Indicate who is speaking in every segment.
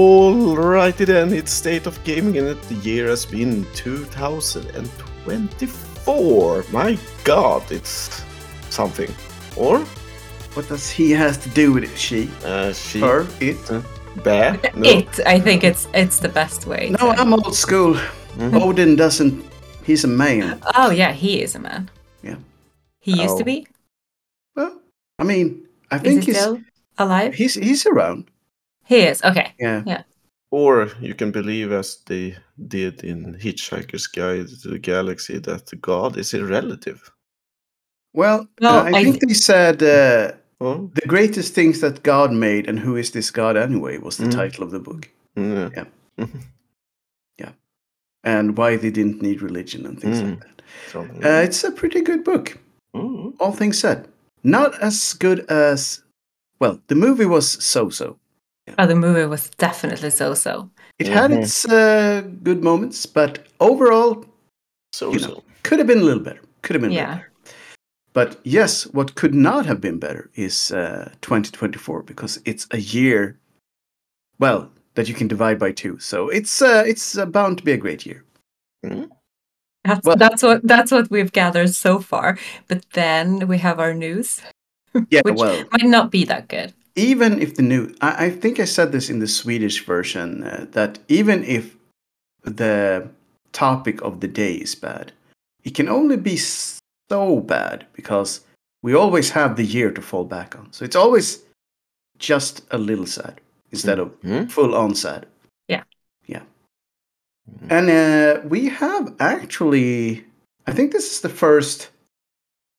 Speaker 1: Alrighty then, it's State of Gaming and it- the year has been 2024. My god, it's something. Or?
Speaker 2: What does he has to do with it? She,
Speaker 1: Uh, she,
Speaker 2: her, it?
Speaker 1: bear?
Speaker 3: Eh.
Speaker 1: No.
Speaker 3: It. I think it's it's the best way.
Speaker 2: No,
Speaker 3: to-
Speaker 2: I'm old school.
Speaker 3: Mm-hmm.
Speaker 1: Mhm.
Speaker 2: Odin doesn't. He's a man.
Speaker 3: Oh yeah, he is a man.
Speaker 2: Yeah.
Speaker 3: He used
Speaker 1: Oh.
Speaker 3: to be.
Speaker 2: Well, I mean, I
Speaker 3: Is
Speaker 2: think
Speaker 3: he
Speaker 2: he's
Speaker 3: still alive?
Speaker 2: he's he's around.
Speaker 3: He is. Okay.
Speaker 2: Yeah.
Speaker 1: Or you can believe, as they did in Hitchhiker's Guide to the Galaxy, that the god is a relative.
Speaker 2: Well,
Speaker 3: No,
Speaker 2: uh, I,
Speaker 3: I-
Speaker 2: think they said uh,
Speaker 1: Oh,
Speaker 2: the greatest things that God made and who is this God anyway was the
Speaker 1: Mm.
Speaker 2: title of the book
Speaker 1: yeah.
Speaker 2: and why they didn't need religion and things
Speaker 3: Mm.
Speaker 2: like that.
Speaker 1: Something.
Speaker 2: Uh, it's a pretty good book.
Speaker 1: Mhm.
Speaker 2: all things said, not as good as well. The movie was so-so.
Speaker 3: Oh, the movie was definitely so-so.
Speaker 2: It had
Speaker 3: Mm-hmm.
Speaker 1: Mhm.
Speaker 2: its uh, good moments, but overall
Speaker 1: So,
Speaker 2: you know.
Speaker 1: so.
Speaker 2: could have been a little better. Could have been a little
Speaker 3: Yeah.
Speaker 2: better. But yes, what could not have been better is uh, 2024 because it's a year, well, that you can divide by two. So it's uh, it's uh, bound to be a great year.
Speaker 3: That's,
Speaker 2: Well-
Speaker 3: that's what that's what we've gathered so far. But then we have our news.
Speaker 2: Yeah,
Speaker 3: Which-
Speaker 2: well,
Speaker 3: Might not be that good.
Speaker 2: even if the new I, I think i said this in the swedish version uh, that even if the topic of the day is bad it can only be so bad because we always have the year to fall back on so it's always just a little sad instead of
Speaker 1: Mhm.
Speaker 2: full on sad
Speaker 3: Yeah.
Speaker 2: yeah and uh, we have actually i think this is the first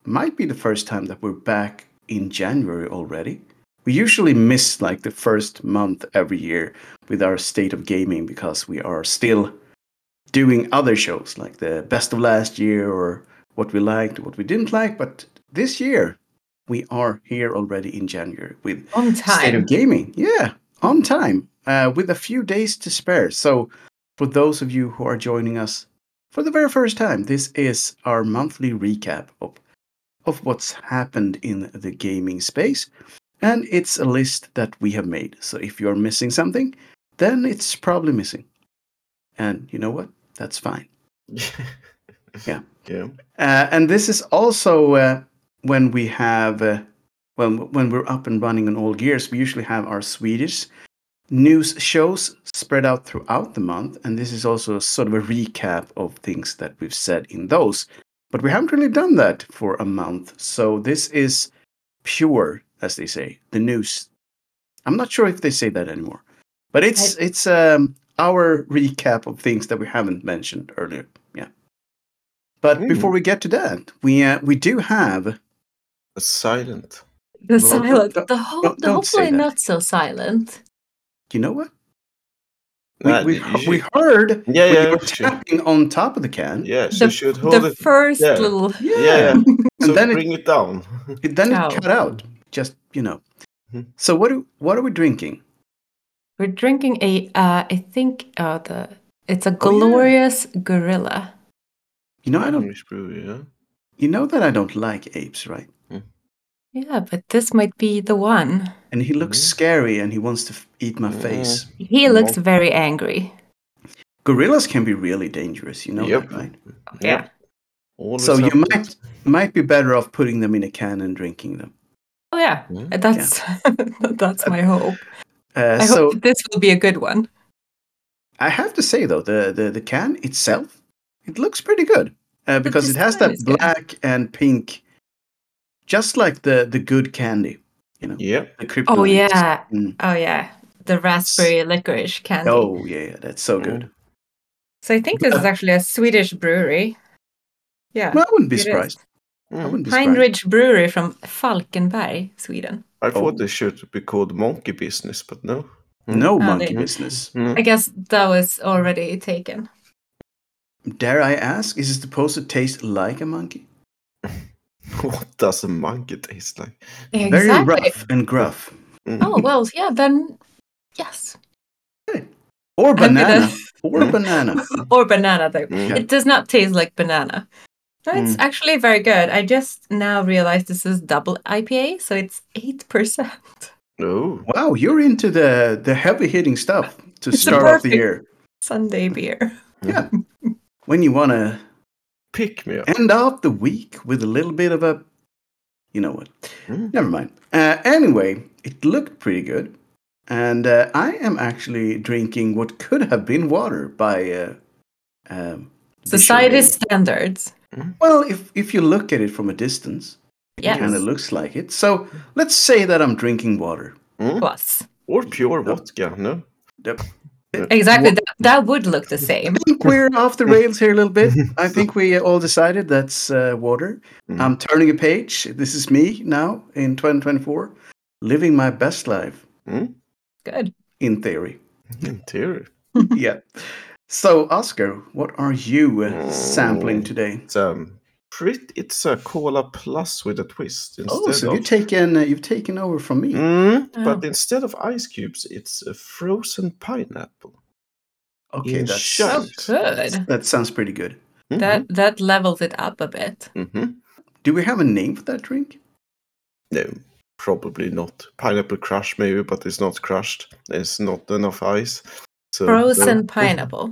Speaker 2: might be the first time that we're back in january already we usually miss like the first month every year with our state of gaming because we are still doing other shows like the best of last year or what we liked, what we didn't like. But this year, we are here already in January with
Speaker 3: On
Speaker 2: state
Speaker 3: time.
Speaker 2: of gaming. Yeah, on time uh, with a few days to spare. So, for those of you who are joining us for the very first time, this is our monthly recap of of what's happened in the gaming space. And it's a list that we have made. So if you're missing something, then it's probably missing. And you know what? That's fine. Yeah.
Speaker 1: Yeah.
Speaker 2: Uh, and this is also uh, when we have, uh, when, when we're up and running on all gears, we usually have our Swedish news shows spread out throughout the month. And this is also sort of a recap of things that we've said in those. But we haven't really done that for a month. So this is pure, as they say, the news. I'm not sure if they say that anymore. But it's it's um, our recap of things that we haven't mentioned earlier. Yeah. But
Speaker 1: Mm.
Speaker 2: before we get to that, we uh, we do have
Speaker 1: Silent.
Speaker 3: The
Speaker 1: Well,
Speaker 3: silent.
Speaker 2: don't-
Speaker 3: The whole.
Speaker 2: don't-
Speaker 3: the
Speaker 2: don't say
Speaker 3: hopefully
Speaker 2: that.
Speaker 3: not so silent.
Speaker 2: you know what
Speaker 1: Nah,
Speaker 2: we we,
Speaker 1: you
Speaker 2: he-
Speaker 1: should-
Speaker 2: we heard
Speaker 1: yeah,
Speaker 2: when you
Speaker 1: yeah,
Speaker 2: were
Speaker 1: you should,
Speaker 2: tapping on top of the can.
Speaker 1: yes,
Speaker 3: The-
Speaker 1: you should hold
Speaker 3: The
Speaker 1: it.
Speaker 3: first
Speaker 1: yeah.
Speaker 3: little.
Speaker 2: Yeah.
Speaker 1: Yeah, yeah.
Speaker 2: And
Speaker 1: So
Speaker 2: then it-
Speaker 1: bring it down.
Speaker 2: It, then
Speaker 3: Oh.
Speaker 2: it cut out. Just you know.
Speaker 1: Mhm.
Speaker 2: So what do, what are we drinking?
Speaker 3: We're drinking a. Uh, I think uh, the. It's a
Speaker 2: Oh, yeah.
Speaker 3: glorious gorilla.
Speaker 2: You know I don't.
Speaker 1: Irish brew, yeah.
Speaker 2: You know that I don't like apes, right?
Speaker 3: Yeah, but this might be the one.
Speaker 2: And he looks
Speaker 1: Mhm.
Speaker 2: scary, and he wants to f- eat my
Speaker 1: Mhm.
Speaker 2: face.
Speaker 3: He looks very angry.
Speaker 2: Gorillas can be really dangerous. You know
Speaker 1: Yep.
Speaker 2: that, right?
Speaker 3: Yeah.
Speaker 1: Always
Speaker 2: So you
Speaker 1: have
Speaker 2: might-
Speaker 1: it.
Speaker 2: Might be better off putting them in a can and drinking them.
Speaker 3: Oh yeah.
Speaker 1: Yeah.
Speaker 3: That's that's my hope.
Speaker 2: Uh,
Speaker 3: I
Speaker 2: so
Speaker 3: hope this will be a good one.
Speaker 2: I have to say though, the the, the can itself, it looks pretty good uh, because it has
Speaker 3: design
Speaker 2: that
Speaker 3: is good.
Speaker 2: black and pink, just like the the good candy,
Speaker 1: Yeah.
Speaker 2: the kryptonite.
Speaker 3: Oh yeah.
Speaker 2: Mm.
Speaker 3: Oh yeah. The raspberry licorice candy.
Speaker 2: Oh yeah, yeah, that's so good.
Speaker 3: So I think this is actually a Swedish brewery. Yeah.
Speaker 2: Well, I wouldn't be
Speaker 3: it is.
Speaker 2: surprised. I
Speaker 1: Mm.
Speaker 2: wouldn't be surprised.
Speaker 3: Heinrich Brewery from Falkenberg, Sweden.
Speaker 1: I thought
Speaker 2: Oh.
Speaker 1: they should be called monkey business, but no. Mm.
Speaker 2: No
Speaker 3: they-
Speaker 2: monkey business.
Speaker 1: Mm.
Speaker 3: I guess that was already taken.
Speaker 2: Dare I ask, is it supposed to taste like a monkey?
Speaker 1: what does a monkey taste like?
Speaker 2: Very rough and gruff,
Speaker 1: Mm.
Speaker 3: Oh well, yeah. Then yes,
Speaker 2: or
Speaker 3: Happy that-
Speaker 2: banana, or
Speaker 1: Mm.
Speaker 2: banana.
Speaker 3: or banana though.
Speaker 1: Mm.
Speaker 3: It does not taste like banana. No, it's
Speaker 2: Mm.
Speaker 3: actually very good. I just now realized this is double IPA, so it's eight percent.
Speaker 1: Oh,
Speaker 2: Wow, you're into the the heavy hitting stuff to
Speaker 3: It's
Speaker 2: start off the
Speaker 3: perfect.
Speaker 2: year.
Speaker 3: Sunday beer.
Speaker 2: When you want to
Speaker 1: pick me up.
Speaker 2: end off the week with a little bit of a, you know what?
Speaker 1: Hmm.
Speaker 2: Never mind. Uh, anyway, it looked pretty good, and uh, I am actually drinking what could have been water by uh, um,
Speaker 3: Society
Speaker 2: visually.
Speaker 3: standards.
Speaker 2: Well, if if you look at it from a distance,
Speaker 3: Yes.
Speaker 2: it kind of looks like it. So let's say that I'm drinking water.
Speaker 1: Mm?
Speaker 3: Plus.
Speaker 1: Or pure vodka, no?
Speaker 3: Exactly.
Speaker 2: Wha-
Speaker 3: That, that would look the same.
Speaker 2: I think we're off the rails here a little bit. I think we all decided that's uh, water.
Speaker 1: Mm.
Speaker 2: I'm turning a page. This is me now in 2024, living my best life
Speaker 3: Good.
Speaker 2: in theory.
Speaker 1: In theory.
Speaker 2: yeah. So, Oscar, what are you uh, sampling
Speaker 1: Mm.
Speaker 2: today?
Speaker 1: It's, um, pretty, it's a cola plus with a twist instead
Speaker 2: Oh, so
Speaker 1: of.
Speaker 2: you've taken uh, you've taken over from me.
Speaker 1: Mm, But
Speaker 3: Oh.
Speaker 1: instead of ice cubes, it's a frozen pineapple.
Speaker 2: Okay,
Speaker 1: in Mm-hmm.
Speaker 2: that
Speaker 1: shots.
Speaker 2: sounds
Speaker 3: Good.
Speaker 2: that sounds pretty good.
Speaker 3: That that levels it up a bit.
Speaker 1: hmm
Speaker 2: Do we have a name for that drink?
Speaker 1: No, probably not. Pineapple crush, maybe, but it's not crushed. There's not enough ice. So no.
Speaker 3: Frozen pineapple.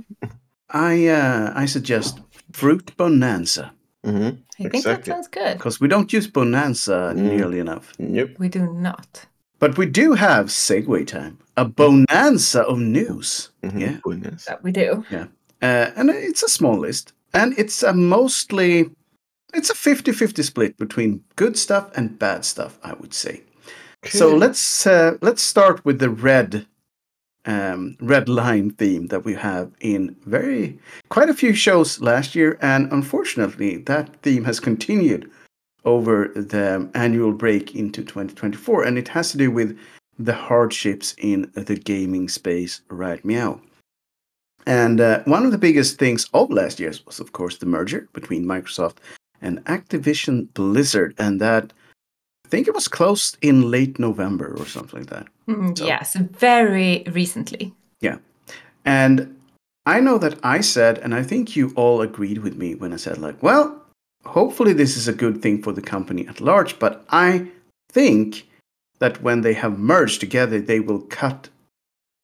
Speaker 2: I uh, I suggest fruit bonanza
Speaker 1: Mhm.
Speaker 3: I think
Speaker 1: Exactly.
Speaker 3: that sounds good.
Speaker 2: because we don't use bonanza
Speaker 1: Mm.
Speaker 2: nearly enough.
Speaker 1: Nope.
Speaker 3: We do not.
Speaker 2: But we do have segue time, a bonanza of news.
Speaker 1: Mhm.
Speaker 2: Yeah.
Speaker 1: Goodness.
Speaker 3: That we do.
Speaker 2: Uh, and it's a small list. And it's a mostly, it's a 50 50 split between good stuff and bad stuff, I would say. So
Speaker 1: Okay.
Speaker 2: let's uh, let's start with the red um, red line theme that we have in very quite a few shows last year, and unfortunately, that theme has continued over the annual break into 2024, and it has to do with the hardships in the gaming space right meow. And uh, one of the biggest things of last year's was, of course, the merger between Microsoft and Activision Blizzard, and that I think it was closed in late November or something like that.
Speaker 3: Mm,
Speaker 2: So-
Speaker 3: Yes, very recently.
Speaker 2: And I know that I said, and I think you all agreed with me when I said, like, well, hopefully this is a good thing for the company at large, but I think that when they have merged together, they will cut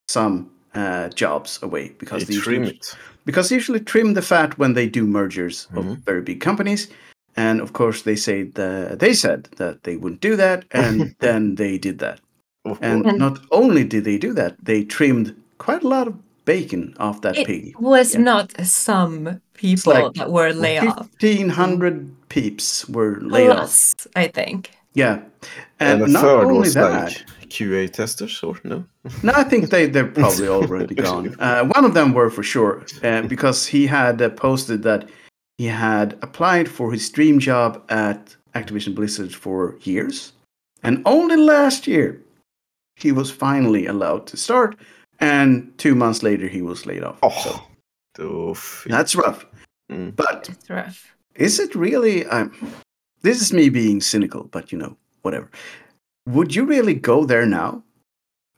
Speaker 2: some uh, jobs away because
Speaker 1: They
Speaker 2: they,
Speaker 1: trim
Speaker 2: usually,
Speaker 1: it.
Speaker 2: because they usually trim the fat when they do mergers of
Speaker 1: Mhm.
Speaker 2: very big companies. And of course, they say the, they said that they wouldn't do that, and then they did that.
Speaker 1: Of
Speaker 2: And
Speaker 1: course.
Speaker 3: And-
Speaker 2: not only did they do that, they trimmed quite a lot of bacon off that
Speaker 3: It
Speaker 2: pig.
Speaker 3: was
Speaker 2: Yeah.
Speaker 3: not some people
Speaker 2: like
Speaker 3: that were laid off.
Speaker 2: Fifteen hundred peeps were laid off.
Speaker 3: Plus, I think.
Speaker 2: Yeah,
Speaker 1: And,
Speaker 2: and,
Speaker 1: a
Speaker 2: not
Speaker 1: third
Speaker 2: only
Speaker 1: was
Speaker 2: that.
Speaker 1: like QA testers, or no?
Speaker 2: No, I think they they're probably already gone. Uh, one of them were for sure uh, because he had uh, posted that he had applied for his dream job at Activision Blizzard for years, and only last year he was finally allowed to start. And two months later, he was laid off. So
Speaker 1: Oh, oof.
Speaker 2: that's rough.
Speaker 1: Mm.
Speaker 2: But
Speaker 3: It's rough.
Speaker 2: Is it really? Um, this is me being cynical, but you know, whatever. Would you really go there now?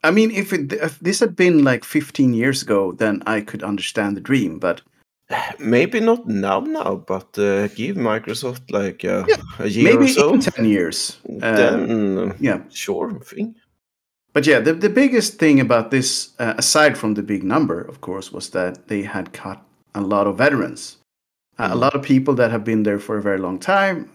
Speaker 2: I mean, if, it, if this had been like 15 years ago, then I could understand the dream. But
Speaker 1: maybe not now, now, but uh, give Microsoft like uh,
Speaker 2: Yeah,
Speaker 1: a year
Speaker 2: maybe
Speaker 1: or so.
Speaker 2: in 10 years. uh,
Speaker 1: then uh,
Speaker 2: yeah.
Speaker 1: sure thing.
Speaker 2: But yeah, the, the biggest thing about this, uh, aside from the big number, of course, was that they had cut a lot of veterans, uh, a
Speaker 1: Mhm.
Speaker 2: lot of people that have been there for a very long time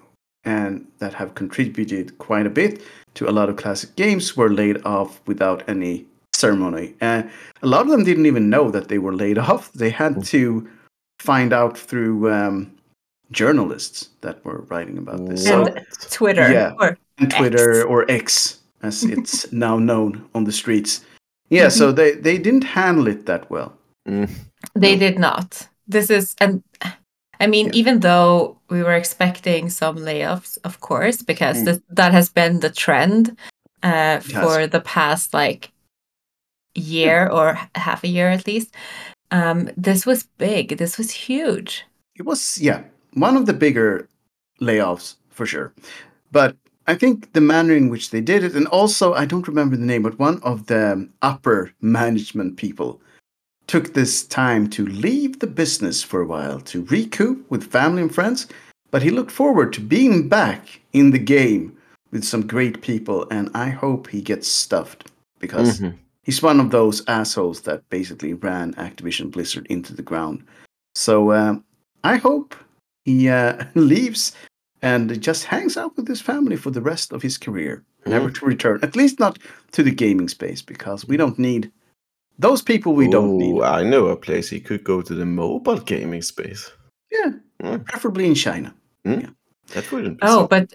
Speaker 2: and that have contributed quite a bit to a lot of classic games were laid off without any ceremony. Uh, a lot of them didn't even know that they were laid off. They had to find out through um, journalists that were writing about this. So-
Speaker 1: What?
Speaker 3: Twitter.
Speaker 2: Yeah.
Speaker 3: Or
Speaker 2: and
Speaker 3: X.
Speaker 2: Twitter or X, as it's now known on the streets. Yeah, so they, they didn't handle it that well.
Speaker 1: Mm.
Speaker 3: They
Speaker 2: No.
Speaker 3: did not. This is and I mean,
Speaker 2: Yeah.
Speaker 3: even though we were expecting some layoffs, of course, because
Speaker 1: Mm.
Speaker 3: th- that has been the trend uh,
Speaker 2: It has.
Speaker 3: for the past like year or h- half a year at least. Um, this was big. This was huge.
Speaker 2: It was, yeah, one of the bigger layoffs for sure. But I think the manner in which they did it, and also I don't remember the name, but one of the upper management people took this time to leave the business for a while to recoup with family and friends. But he looked forward to being back in the game with some great people, and I hope he gets stuffed
Speaker 1: Mm-hmm.
Speaker 2: because he's one of those assholes that basically ran Activision Blizzard into the ground. So um, I hope he uh, leaves and just hangs out with his family for the rest of his career, never
Speaker 1: Mm-hmm.
Speaker 2: to return. At least not to the gaming space because we don't need those people. We don't need.
Speaker 1: Ooh, I know a place he could go to the mobile gaming space.
Speaker 2: Yeah,
Speaker 1: Mm.
Speaker 2: preferably in China.
Speaker 1: That wouldn't be
Speaker 3: Oh,
Speaker 1: so-
Speaker 3: but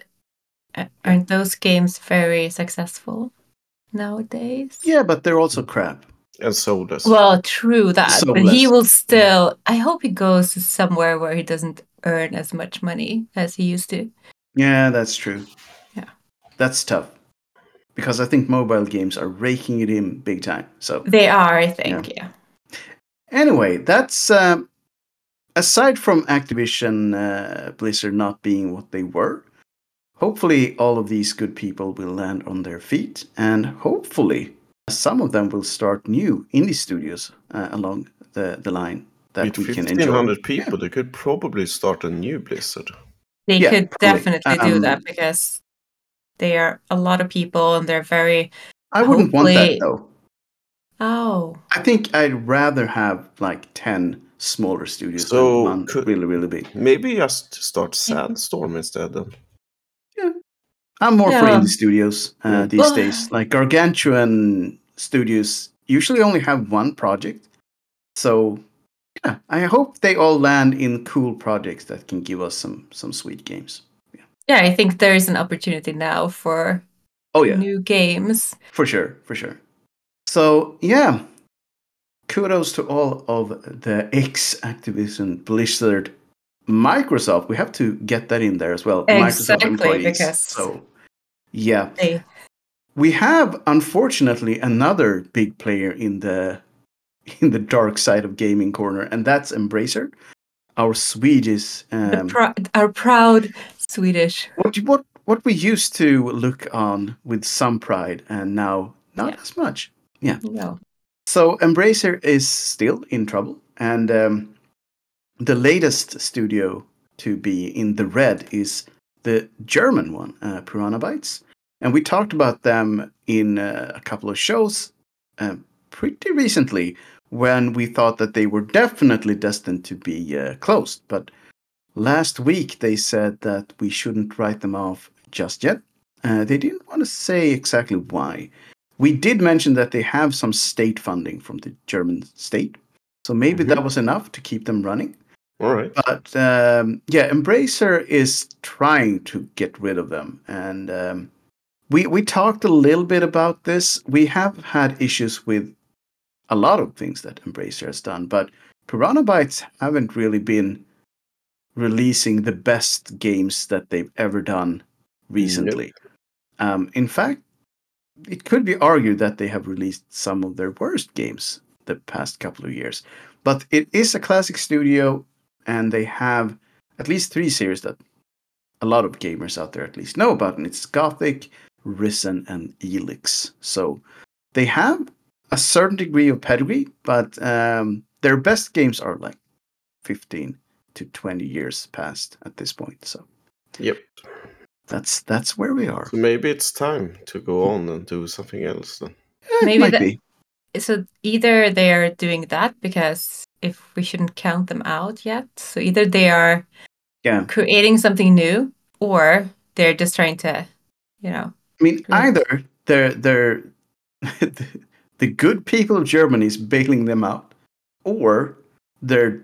Speaker 3: uh, aren't those games very successful nowadays?
Speaker 2: Yeah, but they're also crap.
Speaker 1: and so does.
Speaker 3: Well, true that,
Speaker 2: So
Speaker 3: but he
Speaker 2: less.
Speaker 3: will still. I hope he goes to somewhere where he doesn't earn as much money as he used to.
Speaker 2: Yeah, that's true.
Speaker 3: Yeah.
Speaker 2: That's tough. Because I think mobile games are raking it in big time. So,
Speaker 3: They are, I think. Yeah.
Speaker 2: anyway, that's um, aside from Activision uh, Blizzard not being what they were. Hopefully, all of these good people will land on their feet, and hopefully, some of them will start new indie studios uh, along the, the line that
Speaker 1: With
Speaker 2: we can enjoy.
Speaker 1: 1,500 people, they could probably start a new Blizzard.
Speaker 3: They
Speaker 2: Yeah,
Speaker 3: could
Speaker 2: probably.
Speaker 3: definitely do
Speaker 2: Um,
Speaker 3: that because they are a lot of people and they're very.
Speaker 2: I wouldn't want that
Speaker 3: Hopefully-
Speaker 2: though.
Speaker 3: Oh,
Speaker 2: I think I'd rather have like 10 smaller studios
Speaker 1: So
Speaker 2: than one
Speaker 1: could-
Speaker 2: really, really big.
Speaker 1: Maybe just start Sandstorm instead then.
Speaker 2: I'm more for
Speaker 3: Yeah.
Speaker 2: indie studios uh,
Speaker 1: Yeah.
Speaker 2: these
Speaker 3: Well-
Speaker 2: days. Like gargantuan studios usually only have one project. So yeah, I hope they all land in cool projects that can give us some some sweet games.
Speaker 3: yeah. I think there is an opportunity now for
Speaker 2: Oh yeah,
Speaker 3: new games.
Speaker 2: for sure, for sure. So yeah, kudos to all of the ex Activision Blizzard Microsoft. We have to get that in there as well. Microsoft
Speaker 3: Exactly,
Speaker 2: employees.
Speaker 3: because-
Speaker 2: so yeah,
Speaker 3: They,
Speaker 2: we have unfortunately another big player in the in the dark side of gaming corner and that's embracer our swedish
Speaker 3: the
Speaker 2: um,
Speaker 3: prou- our proud Swedish.
Speaker 2: what, what what we used to look on with some pride and now not
Speaker 3: Yeah.
Speaker 2: as much
Speaker 3: No.
Speaker 2: so embracer is still in trouble and um, the latest studio to be in the red is the german one uh, piranha bytes and we talked about them in uh, a couple of shows uh, pretty recently when we thought that they were definitely destined to be uh, closed. But last week they said that we shouldn't write them off just yet. Uh, they didn't want to say exactly why. We did mention that they have some state funding from the German state. So maybe that was enough to keep them running.
Speaker 1: All right.
Speaker 2: But um, yeah, Embracer is trying to get rid of them, and um, we we talked a little bit about this. We have had issues with a lot of things that Embracer has done, but Piranha Bytes haven't really been releasing the best games that they've ever done recently. Um, in fact, it could be argued that they have released some of their worst games the past couple of years. But it is a classic studio and they have at least three series that a lot of gamers out there at least know about, and it's Gothic, Risen, and Elix. So they have a certain degree of pedigree, but um, their best games are like 15 to 20 years past at this point. So
Speaker 1: Yep.
Speaker 2: that's that's where we are.
Speaker 1: So maybe it's time to go
Speaker 2: Hmm.
Speaker 1: on and do something else then.
Speaker 2: Eh, it
Speaker 3: Maybe
Speaker 2: might
Speaker 3: that-
Speaker 2: be.
Speaker 3: so either they are doing that because if we shouldn't count them out yet so either they are
Speaker 2: Yeah.
Speaker 3: creating something new or they're just trying to you know
Speaker 2: I mean,
Speaker 3: Yeah.
Speaker 2: either they're they're the, the good people of Germany is bailing them out, or they're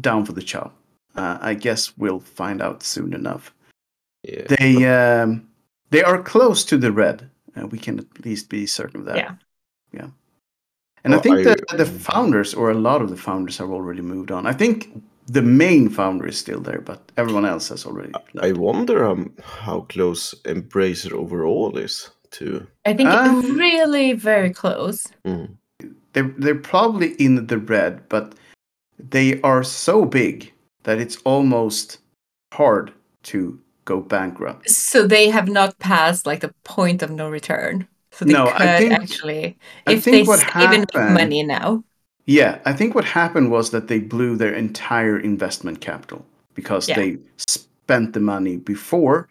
Speaker 2: down for the chop. Uh, I guess we'll find out soon enough.
Speaker 1: Yeah.
Speaker 2: They um, they are close to the red. Uh, we can at least be certain of that.
Speaker 3: Yeah.
Speaker 2: yeah. And I
Speaker 1: Well,
Speaker 2: think
Speaker 1: I-
Speaker 2: that the founders, or a lot of the founders, have already moved on. I think the main founder is still there, but everyone else has already
Speaker 1: I
Speaker 2: left.
Speaker 1: wonder um, how close Embracer overall is to.
Speaker 3: i think
Speaker 2: Um,
Speaker 3: really very close
Speaker 1: Mm.
Speaker 2: they're they're probably in the red, but they are so big that it's almost hard to go bankrupt.
Speaker 3: so they have not passed like the point of no return so they
Speaker 2: No, I
Speaker 3: could
Speaker 2: think-
Speaker 3: actually
Speaker 2: I
Speaker 3: if
Speaker 2: think
Speaker 3: they
Speaker 2: what
Speaker 3: save enough
Speaker 2: happened-
Speaker 3: money now
Speaker 2: Yeah, I think what happened was that they blew their entire investment capital because
Speaker 3: Yeah.
Speaker 2: they spent the money before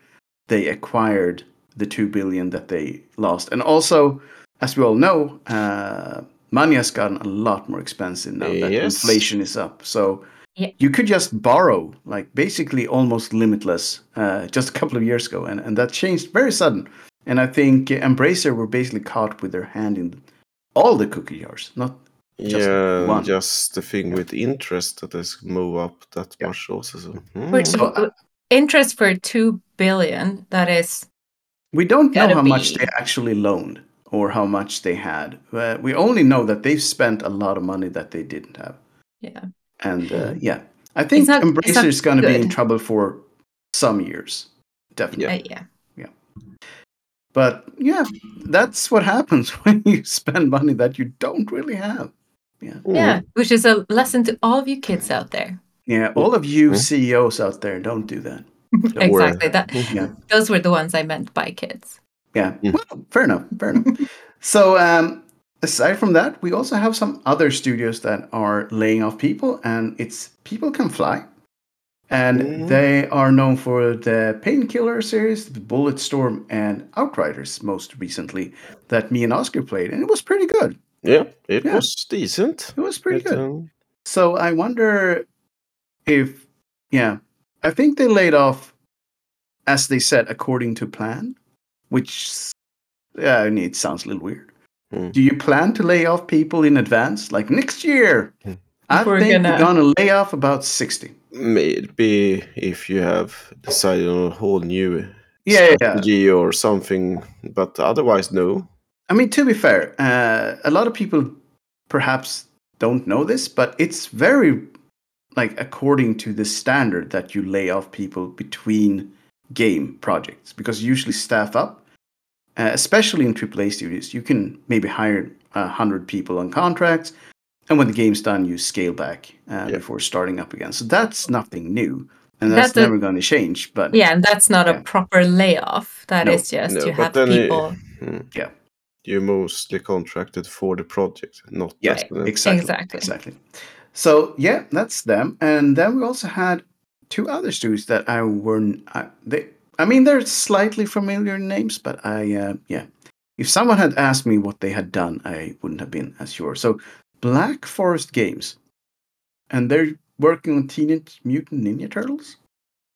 Speaker 2: they acquired the two billion that they lost. And also, as we all know, uh, money has gotten a lot more expensive now that
Speaker 1: Yes.
Speaker 2: inflation is up. So
Speaker 3: Yeah.
Speaker 2: you could just borrow like basically almost limitless uh, just a couple of years ago, and, and that changed very sudden. And I think Embracer were basically caught with their hand in all the cookie jars, not Just
Speaker 1: yeah,
Speaker 2: one.
Speaker 1: just the thing with interest that has move up that much also. So,
Speaker 3: Which
Speaker 1: hmm.
Speaker 2: So, uh,
Speaker 3: interest for two billion? That is
Speaker 2: We don't know
Speaker 3: Gotta
Speaker 2: how much
Speaker 3: be.
Speaker 2: they actually loaned or how much they had. Uh, we only know that they've spent a lot of money that they didn't have.
Speaker 3: yeah.
Speaker 2: And uh, yeah, I think
Speaker 3: not- it's
Speaker 2: Embracer
Speaker 3: not
Speaker 2: is going to be in
Speaker 3: good.
Speaker 2: trouble for some years, definitely.
Speaker 3: Uh, yeah.
Speaker 2: But yeah, that's what happens when you spend money that you don't really have.
Speaker 3: Yeah. Which is a lesson to all of you kids out there.
Speaker 2: Yeah, all of you
Speaker 1: Mhm.
Speaker 2: CEOs out there, don't do that.
Speaker 1: Don't worry.
Speaker 3: exactly. That
Speaker 2: Yeah.
Speaker 3: those were the ones I meant by kids.
Speaker 2: Yeah.
Speaker 1: Mm.
Speaker 2: Well, fair enough. Fair enough. so, um, aside from that, we also have some other studios that are laying off people, and it's People Can Fly. And
Speaker 1: Mhm.
Speaker 2: they are known for the Painkiller series, Bulletstorm, and Outriders most recently that me and Oscar played. And it was pretty good.
Speaker 1: Yeah, it
Speaker 2: Yeah.
Speaker 1: was decent.
Speaker 2: It was pretty
Speaker 1: But,
Speaker 2: good.
Speaker 1: um,
Speaker 2: So I wonder if, yeah, I think they laid off, as they said, according to plan, which, s- yeah, I mean, it sounds a little weird.
Speaker 1: Hmm.
Speaker 2: Do you plan to lay off people in advance, like next year?
Speaker 1: Hmm.
Speaker 2: I
Speaker 3: We're
Speaker 2: think
Speaker 3: gonna-
Speaker 2: we're gonna lay off about sixty.
Speaker 1: maybe if you have decided on a whole new
Speaker 2: Yeah, yeah, yeah.
Speaker 1: strategy or something, but otherwise, no.
Speaker 2: I mean, to be fair, uh, a lot of people perhaps don't know this, but it's very like according to the standard that you lay off people between game projects because you usually staff up, uh, especially in AAA studios. You can maybe hire uh, 100 people on contracts, and when the game's done, you scale back uh,
Speaker 1: Yeah.
Speaker 2: before starting up again. So that's nothing new, and
Speaker 3: That's
Speaker 2: that's
Speaker 3: a-
Speaker 2: never going to change. But
Speaker 3: Yeah, and that's not
Speaker 2: Yeah.
Speaker 3: a proper layoff. That
Speaker 2: No,
Speaker 3: is just
Speaker 1: no,
Speaker 3: you have
Speaker 1: but then it-
Speaker 3: people
Speaker 1: Hmm.
Speaker 2: Yeah.
Speaker 1: You're mostly contracted for the project, not
Speaker 2: Yeah,
Speaker 1: just an-
Speaker 2: exactly, exactly.
Speaker 3: Exactly.
Speaker 2: So yeah, that's them. And then we also had two other studios that I were I, they. I mean, they're slightly familiar names, but I uh, yeah. If someone had asked me what they had done, I wouldn't have been as sure. So Black Forest Games, and they're working on Teenage Mutant Ninja Turtles.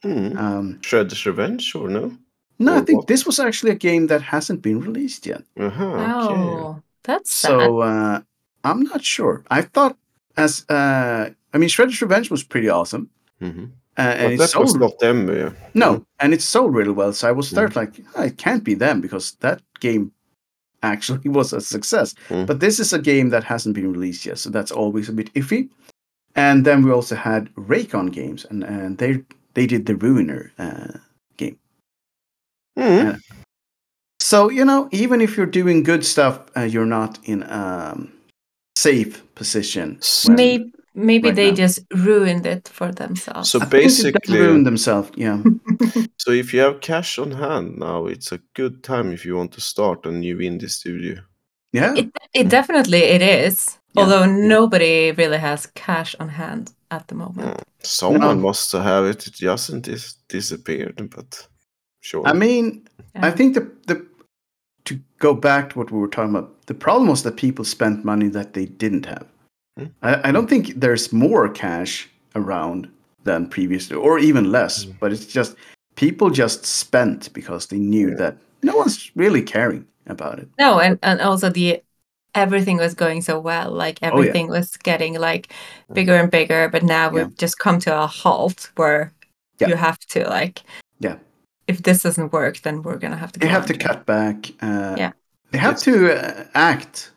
Speaker 1: Hmm.
Speaker 2: Um,
Speaker 1: Shredder's Revenge or no?
Speaker 2: no, I
Speaker 1: Or
Speaker 2: think
Speaker 1: what?
Speaker 2: this was actually a game that hasn't been released yet.
Speaker 1: Uh-huh, okay.
Speaker 3: Oh, that's sad.
Speaker 2: So uh, I'm not sure. I thought as uh, I mean, Shredder's Revenge was pretty awesome,
Speaker 1: Mhm.
Speaker 2: uh, and
Speaker 1: But
Speaker 2: it's
Speaker 1: that was
Speaker 2: sold
Speaker 1: not Mm. them. Yeah.
Speaker 2: no, and it's sold really well. So I was started like, "Ah, it can't be them because that game actually was a success.
Speaker 1: Mm.
Speaker 2: But this is a game that hasn't been released yet, so that's always a bit iffy. And then we also had Raycon Games, and, and they they did the Ruiner uh,
Speaker 1: Mhm.
Speaker 2: So, you know, even if you're doing good stuff, uh, you're not in a um, safe position.
Speaker 1: S-
Speaker 2: when-
Speaker 3: Maybe maybe
Speaker 2: right
Speaker 3: they
Speaker 2: now.
Speaker 3: just ruined it for themselves.
Speaker 1: So
Speaker 2: I think they
Speaker 1: basically,
Speaker 2: ruined themselves. Yeah.
Speaker 1: so if you have cash on hand now, it's a good time if you want to start a new indie studio.
Speaker 2: Yeah.
Speaker 3: it, it definitely it is.
Speaker 2: mm. Yeah,
Speaker 3: Although nobody really has cash on hand at the moment.
Speaker 1: Mm. Someone
Speaker 2: No.
Speaker 1: must have it. It doesn't dis- disappeared, but sure.
Speaker 2: I mean, I
Speaker 3: Yeah.
Speaker 2: think the the to go back to what we were talking about, the problem was that people spent money that they didn't have.
Speaker 1: Hmm.
Speaker 2: I, I don't think there's more cash around than previously, or even less.
Speaker 1: Hmm.
Speaker 2: But it's just people just spent because they knew
Speaker 1: Yeah.
Speaker 2: that no one's really caring about it.
Speaker 3: No, and, and also the everything was going so well. Like
Speaker 2: Oh, yeah.
Speaker 3: everything was getting like
Speaker 1: Mm.
Speaker 3: bigger and bigger, but now
Speaker 2: Yeah.
Speaker 3: we've just come to a halt where
Speaker 2: Yeah.
Speaker 3: you have to like
Speaker 2: Yeah.
Speaker 3: if this doesn't work then we're gonna have to
Speaker 2: They
Speaker 3: go
Speaker 2: have
Speaker 3: on.
Speaker 2: to cut back. Uh,
Speaker 3: Yeah.
Speaker 2: They have
Speaker 1: It's-
Speaker 2: to uh, act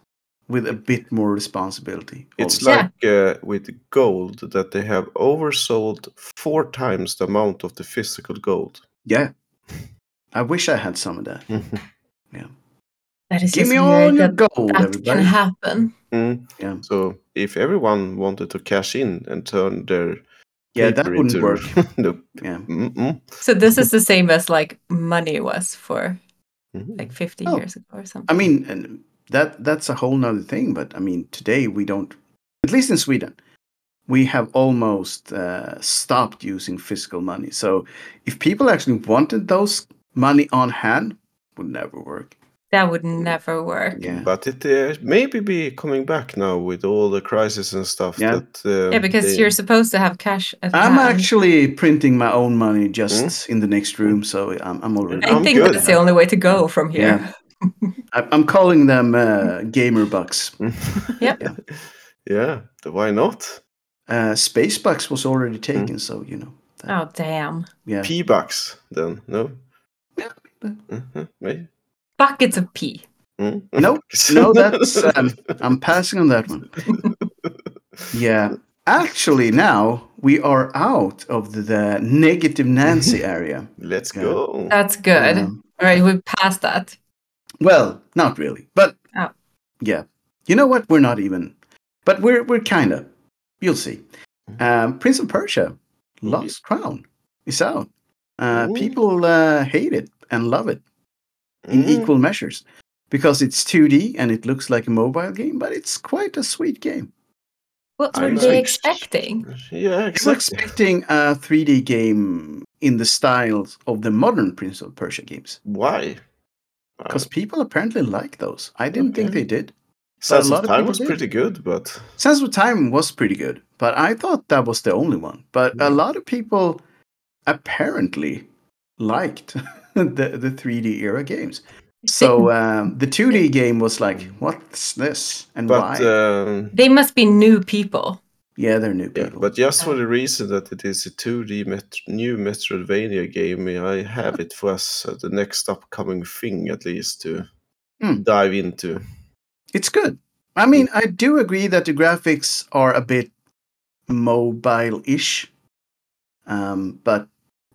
Speaker 2: with a bit more responsibility.
Speaker 1: It's
Speaker 2: also.
Speaker 3: Yeah.
Speaker 1: like uh, with gold that they have oversold four times the amount of the physical gold.
Speaker 2: yeah. I wish I had some of that.
Speaker 3: That is
Speaker 2: Give
Speaker 3: just
Speaker 2: me all
Speaker 3: weird
Speaker 2: your
Speaker 3: that
Speaker 2: gold,
Speaker 3: that can
Speaker 2: everybody.
Speaker 3: happen.
Speaker 1: Mm.
Speaker 2: Yeah.
Speaker 1: So if everyone wanted to cash in and turn their
Speaker 2: Yeah, that
Speaker 1: paper
Speaker 2: wouldn't
Speaker 1: into-
Speaker 2: work.
Speaker 1: no.
Speaker 2: Yeah.
Speaker 1: Mm-mm.
Speaker 3: So this is the same as like money was for
Speaker 1: Mhm.
Speaker 3: like 50
Speaker 2: Oh.
Speaker 3: years ago or
Speaker 2: I
Speaker 3: something.
Speaker 2: mean, and that that's a whole nother thing. But I mean, today we don't, at least in Sweden, we have almost uh, stopped using physical money. So if people actually wanted those money on hand, would never work.
Speaker 3: That would never work.
Speaker 2: Yeah.
Speaker 1: But it uh, maybe be coming back now with all the crisis and stuff.
Speaker 2: Yeah.
Speaker 1: That, uh,
Speaker 3: Yeah, because
Speaker 1: they-
Speaker 3: you're supposed to have cash at
Speaker 2: Oh, I'm
Speaker 3: hand.
Speaker 2: actually printing my own money just in the next room, so I'm, I'm already.
Speaker 3: I
Speaker 1: I'm
Speaker 3: think
Speaker 1: good.
Speaker 3: that's the only way to go from here.
Speaker 2: Yeah. I- I'm calling them uh, gamer bucks.
Speaker 3: Yep.
Speaker 1: yeah. Why not?
Speaker 2: Uh, space bucks was already taken, so you know.
Speaker 3: Oh damn!
Speaker 2: Yeah.
Speaker 1: P bucks then? No.
Speaker 2: Yeah.
Speaker 1: Mhm, Maybe.
Speaker 3: Buckets of pee.
Speaker 1: Mm.
Speaker 2: No, no, that's um, I'm passing on that one. Yeah, actually, now we are out of the, the negative Nancy area.
Speaker 1: Let's
Speaker 2: Yeah.
Speaker 1: go.
Speaker 3: That's good.
Speaker 2: Um,
Speaker 3: All right, we passed that.
Speaker 2: well, not really, but
Speaker 3: Oh.
Speaker 2: yeah, you know what? We're not even, but we're we're kind of. You'll see. Um, Prince of Persia, Lost Crown, is out. Uh,
Speaker 1: Ooh.
Speaker 2: people uh, hate it and love it. in
Speaker 1: Mm.
Speaker 2: equal measures because it's 2D and it looks like a mobile game, but it's quite a sweet game.
Speaker 3: What
Speaker 1: I
Speaker 3: were
Speaker 1: know.
Speaker 3: they expecting?
Speaker 1: Yeah,
Speaker 2: I was
Speaker 1: exactly.
Speaker 2: expecting a 3D game in the styles of the modern Prince of Persia games
Speaker 1: Why? Uh,
Speaker 2: because people apparently like those. I didn't think
Speaker 1: Okay.
Speaker 2: they did.
Speaker 1: Sense of
Speaker 2: lot of
Speaker 1: Time
Speaker 2: people
Speaker 1: was
Speaker 2: did.
Speaker 1: pretty good, but
Speaker 2: Sense of Time was pretty good, but I thought that was the only one. But a
Speaker 1: Mhm.
Speaker 2: lot of people apparently liked the, the 3D era games. So um, the 2D game was like, what's this and
Speaker 1: but
Speaker 2: why?
Speaker 1: um,
Speaker 3: They must be new people.
Speaker 2: yeah, they're new
Speaker 1: yeah,
Speaker 2: people.
Speaker 1: but just for
Speaker 3: Yeah.
Speaker 1: the reason that it is a 2D met- new Metroidvania game, I have it for us uh, the next upcoming thing at least to
Speaker 2: Mm.
Speaker 1: dive into.
Speaker 2: It's good. I mean, I do agree that the graphics are a bit mobile-ish, um, but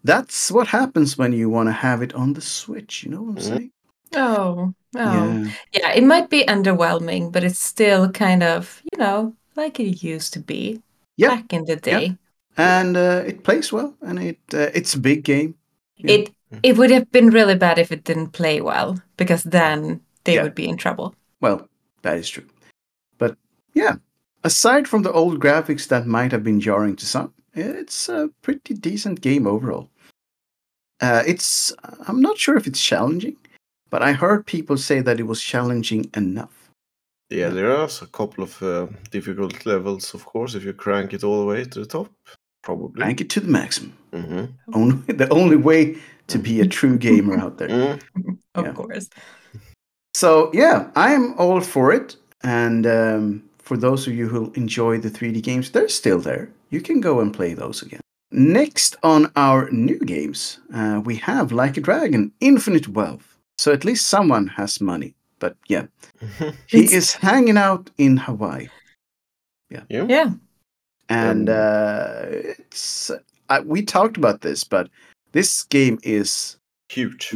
Speaker 2: that's what happens when you want to have it on the Switch. You know what I'm
Speaker 1: Mm.
Speaker 2: saying?
Speaker 3: Oh, oh. Yeah. it might be underwhelming, but it's still kind of, you know, like it used to be
Speaker 2: Yeah.
Speaker 3: back in the day.
Speaker 2: And uh, it plays well, and it uh, it's a big game. Yeah. Mm-hmm.
Speaker 3: It it would have been really bad if it didn't play well, because then they
Speaker 2: Yeah.
Speaker 3: would be in trouble.
Speaker 2: Well, that is true. But yeah, aside from the old graphics that might have been jarring to some, it's a pretty decent game overall. Uh, it's I'm not sure if it's challenging, but I heard people say that it was challenging enough.
Speaker 1: Yeah, there are also a couple of uh, difficult levels, of course, if you crank it all the way to the top, probably.
Speaker 2: Rank it to the maximum.
Speaker 1: Mhm.
Speaker 2: Only the only way to be a true gamer out there.
Speaker 1: Mm.
Speaker 3: Of
Speaker 2: Yeah.
Speaker 3: course.
Speaker 2: So yeah, I am all for it. And um, for those of you who enjoy the 3D games, they're still there. You can go and play those again. Next on our new games, uh, we have Like a Dragon, Infinite Wealth. So at least someone has money. But yeah, he
Speaker 3: It's-
Speaker 2: is hanging out in Hawaii,
Speaker 3: Yeah.
Speaker 2: and
Speaker 1: Um,
Speaker 2: uh, it's I, we talked about this, but this game is
Speaker 1: Huge.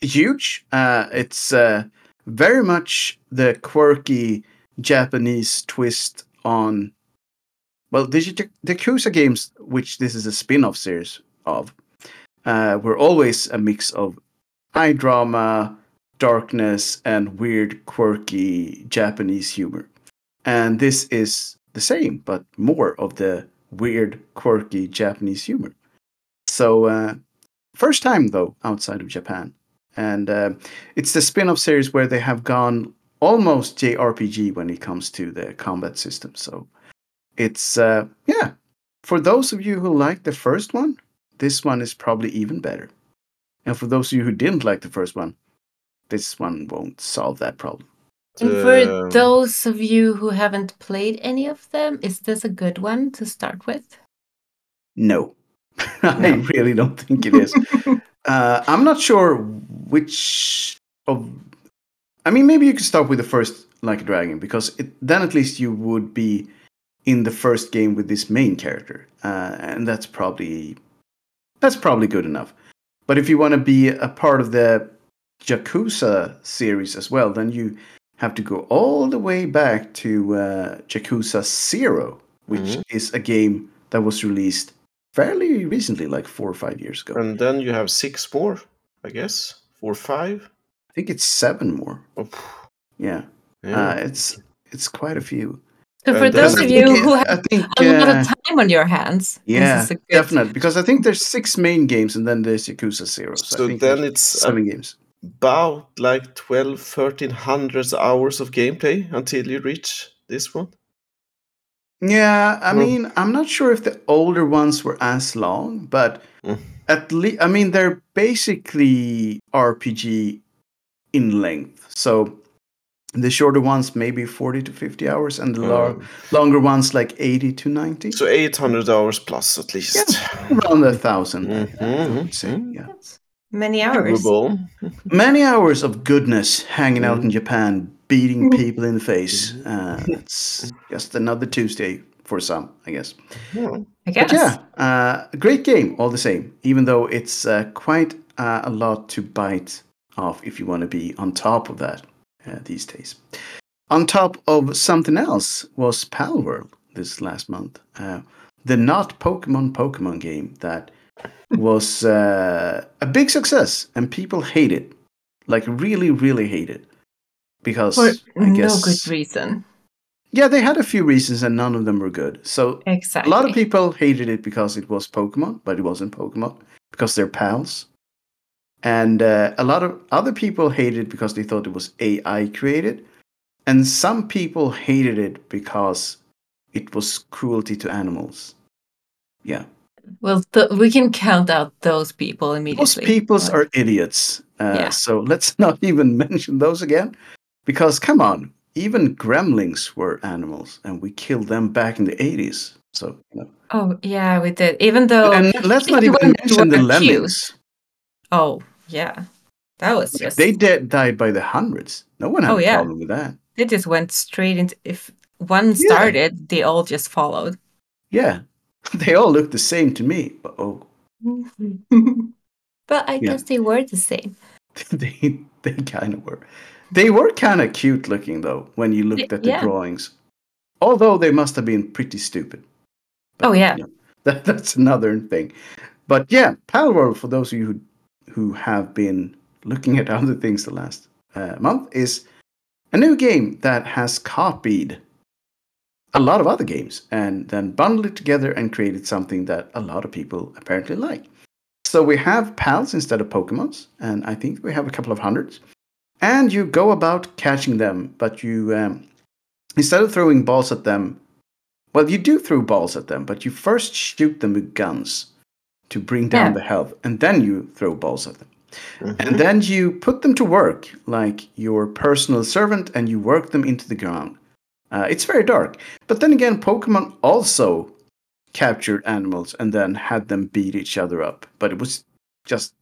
Speaker 2: huge. Uh, it's uh, very much the quirky Japanese twist on, well, the Yaku- the Yakuza games, which this is a spin off series of, uh, were always a mix of high drama, darkness, and weird, quirky Japanese humor. And this is the same, but more of the weird, quirky Japanese humor. So, uh, first time though outside of Japan and uh, it's the spin-off series where they have gone almost JRPG when it comes to the combat system. So it's uh, yeah, for those of you who liked the first one, this one is probably even better. And for those of you who didn't like the first one, this one won't solve that problem.
Speaker 3: And
Speaker 1: Um,
Speaker 3: for those of you who haven't played any of them, is this a good one to start with?
Speaker 2: No, I
Speaker 1: No.
Speaker 2: really don't think it is. uh, I'm not sure which of. I mean, maybe you could start with the first Like a Dragon because it, then at least you would be in the first game with this main character, uh, and that's probably that's probably good enough. But if you want to be a part of the Yakuza series as well, then you have to go all the way back to uh, Yakuza Zero, which
Speaker 1: Mhm.
Speaker 2: is a game that was released fairly recently, like four or five years ago.
Speaker 1: And then you have six more, I guess, or five.
Speaker 2: I think it's seven more.
Speaker 1: Oh, phew.
Speaker 2: Yeah,
Speaker 1: yeah.
Speaker 2: Uh, it's it's quite a few.
Speaker 3: So
Speaker 1: Uh,
Speaker 3: for
Speaker 1: does
Speaker 3: those
Speaker 1: it-
Speaker 3: of you who have
Speaker 2: I think
Speaker 3: a lot
Speaker 2: uh,
Speaker 3: of time on your hands,
Speaker 2: yeah,
Speaker 3: this is a good
Speaker 2: definitely because I think there's six main games and then there's Yakuza Zero. So, I
Speaker 1: so
Speaker 2: think
Speaker 1: then
Speaker 2: there's
Speaker 1: it's uh, a
Speaker 2: seven games.
Speaker 1: about like 12 1300 hours of gameplay until you reach this one
Speaker 2: Yeah, I
Speaker 1: Hmm.
Speaker 2: mean, I'm not sure if the older ones were as long, but
Speaker 1: Mm.
Speaker 2: at least, I mean, they're basically RPG in length. So the shorter ones, maybe 40 to 50 hours, and the lar-
Speaker 1: Um,
Speaker 2: longer ones, like 80 to 90.
Speaker 1: so 800 hours plus at least
Speaker 2: around a 1000 I
Speaker 1: Mhm,
Speaker 2: would say.
Speaker 1: mhm.
Speaker 2: Yeah.
Speaker 3: Many hours.
Speaker 1: Doable.
Speaker 2: Many hours of goodness hanging out in Japan, beating
Speaker 3: Mm.
Speaker 2: people in the face. Uh, it's just another Tuesday for some, I guess.
Speaker 1: Yeah.
Speaker 3: I
Speaker 2: But
Speaker 3: guess.
Speaker 2: yeah, uh, a great game all the same, even though it's uh, quite uh, a lot to bite off if you want to be on top of that uh, these days. On top of something else was Pal World this last month, uh, the not Pokemon Pokemon game that was uh, a big success and people hate it, like really, really hate it, because
Speaker 3: For
Speaker 2: I
Speaker 3: no
Speaker 2: guess
Speaker 3: good reason.
Speaker 2: yeah, they had a few reasons and none of them were good. So
Speaker 3: Exactly.
Speaker 2: a lot of people hated it because it was Pokemon, but it wasn't Pokemon because they're pals. And uh, a lot of other people hated it because they thought it was AI created. And some people hated it because it was cruelty to animals. Yeah.
Speaker 3: Well, th- we can count out those people immediately.
Speaker 2: Most peoples
Speaker 3: Like,
Speaker 2: are idiots. Uh,
Speaker 3: Yeah.
Speaker 2: So let's not even mention those again. Because come on, even gremlings were animals and we killed them back in the 80s. So, you know.
Speaker 3: Oh yeah, we did. Even though.
Speaker 2: and let's not even
Speaker 3: when we
Speaker 2: mention the
Speaker 3: were accused-
Speaker 2: lemmings.
Speaker 3: Oh yeah, that was just
Speaker 2: They de- died by the hundreds. No one had
Speaker 3: Oh,
Speaker 2: a
Speaker 3: yeah.
Speaker 2: problem with that.
Speaker 3: they just went straight into. If one
Speaker 2: Yeah.
Speaker 3: started, they all just followed.
Speaker 2: Yeah. They all look the same to me. But oh,
Speaker 3: but I guess they were the same.
Speaker 2: they they kind of were. They were kind of cute looking though when you looked at the
Speaker 3: yeah.
Speaker 2: drawings. Although they must have been pretty stupid.
Speaker 3: Oh, yeah.
Speaker 2: that, that's another thing. But yeah, Pal World for those of you who, who have been looking at other things the last uh, month is a new game that has copied a lot of other games and then bundled it together and created something that a lot of people apparently like. So we have pals instead of Pokemons, and I think we have a couple of hundreds. And you go about catching them, but you um, instead of throwing balls at them, well, you do throw balls at them, but you first shoot them with guns to bring down
Speaker 3: Yeah.
Speaker 2: the health, and then you throw balls at them.
Speaker 1: Mhm.
Speaker 2: And then you put them to work like your personal servant and you work them into the ground. Uh, it's very dark. But then again, Pokemon also captured animals and then had them beat each other up. But it was just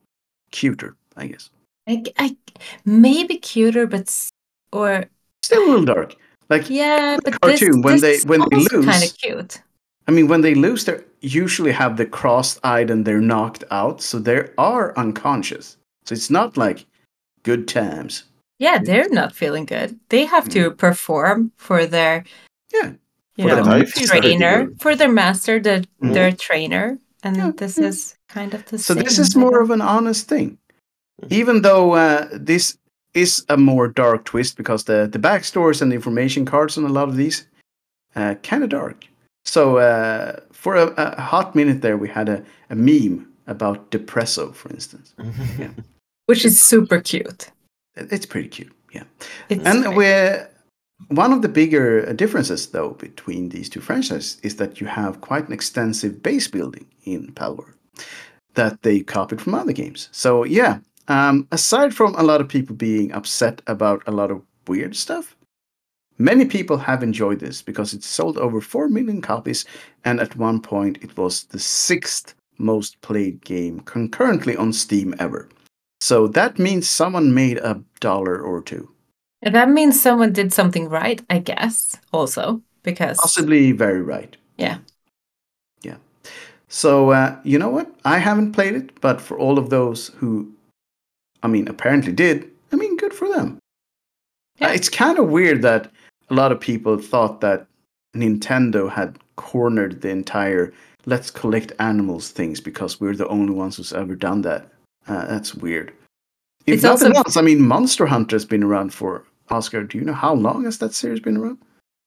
Speaker 2: cuter, I guess.
Speaker 3: I, I maybe cuter, but s- or
Speaker 2: Still a little dark. Like,
Speaker 3: yeah, but
Speaker 2: cartoon,
Speaker 3: this,
Speaker 2: when
Speaker 3: this
Speaker 2: they- when they
Speaker 3: kind
Speaker 2: lose-
Speaker 3: of cute.
Speaker 2: I mean, when they lose, they usually have the crossed eyed and they're knocked out. So they are unconscious. So it's not like good times.
Speaker 3: Yeah,
Speaker 2: Mm.
Speaker 3: they're not feeling good. They have to perform for their
Speaker 2: Yeah.
Speaker 3: you
Speaker 1: For
Speaker 2: the
Speaker 3: know
Speaker 1: type is pretty
Speaker 3: trainer
Speaker 1: good.
Speaker 3: for their master, the,
Speaker 2: Mm.
Speaker 3: their trainer, and
Speaker 2: Yeah,
Speaker 3: this
Speaker 2: yeah.
Speaker 3: is kind of the
Speaker 2: So
Speaker 3: same.
Speaker 2: this is more of an honest thing, even though uh, this is a more dark twist because the the backstories and the information cards on a lot of these uh, kind of dark. So uh, for a, a hot minute there, we had a, a meme about Depresso, for instance.
Speaker 3: which is super cute.
Speaker 2: It- It's pretty cute, yeah.
Speaker 3: It's
Speaker 2: And
Speaker 3: great.
Speaker 2: we're, one of the bigger uh, differences, though, between these two franchises is that you have quite an extensive base building in Palworld that they copied from other games. So, yeah, um, aside from a lot of people being upset about a lot of weird stuff, many people have enjoyed this because it sold over 4 million copies, and at one point it was the sixth most played game concurrently on Steam ever. So that means someone made a dollar or two.
Speaker 3: And that means someone did something right, I guess, also because
Speaker 2: possibly very right.
Speaker 3: Yeah.
Speaker 2: Yeah. So uh, you know what? I haven't played it, but for all of those who, I mean, apparently did, I mean, good for them. Uh,
Speaker 3: Yeah.
Speaker 2: it's kind of weird that a lot of people thought that Nintendo had cornered the entire "let's collect animals" things because we're the only ones who's ever done that. Uh, that's weird. If
Speaker 3: It's
Speaker 2: nothing
Speaker 3: also-
Speaker 2: else, I mean, Monster Hunter has been around for Oscar. Do you know how long has that series been around?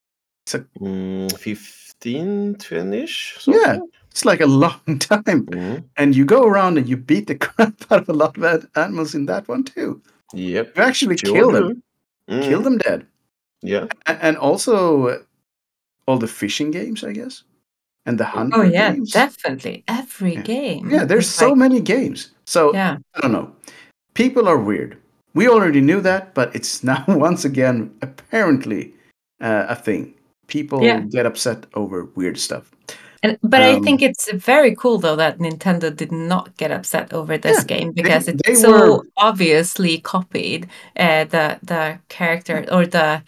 Speaker 1: Mm, 15 20ish
Speaker 2: Yeah, it's like a long time.
Speaker 1: Mhm.
Speaker 2: and you go around and you beat the crap out of a lot of ad- animals in that one too.
Speaker 1: Yep.
Speaker 2: You actually
Speaker 1: Sure
Speaker 2: kill
Speaker 1: do.
Speaker 2: them,
Speaker 1: Mm,
Speaker 2: kill them dead,
Speaker 1: Yeah.
Speaker 2: A- and also uh, all the fishing games, I guess, and the hunting.
Speaker 3: Oh yeah,
Speaker 2: games.
Speaker 3: definitely. Every
Speaker 2: Yeah.
Speaker 3: game.
Speaker 2: yeah. There's
Speaker 3: is
Speaker 2: so
Speaker 3: like-
Speaker 2: many games. So
Speaker 3: Yeah.
Speaker 2: I don't know. People are weird. We already knew that, but it's now once again apparently uh, a thing. People
Speaker 3: Yeah.
Speaker 2: get upset over weird stuff.
Speaker 3: And, but I
Speaker 2: Um,
Speaker 3: think it's very cool though that Nintendo did not get upset over this
Speaker 2: Yeah,
Speaker 3: game because it's
Speaker 2: they
Speaker 3: so
Speaker 2: were-
Speaker 3: obviously copied uh, the the character or the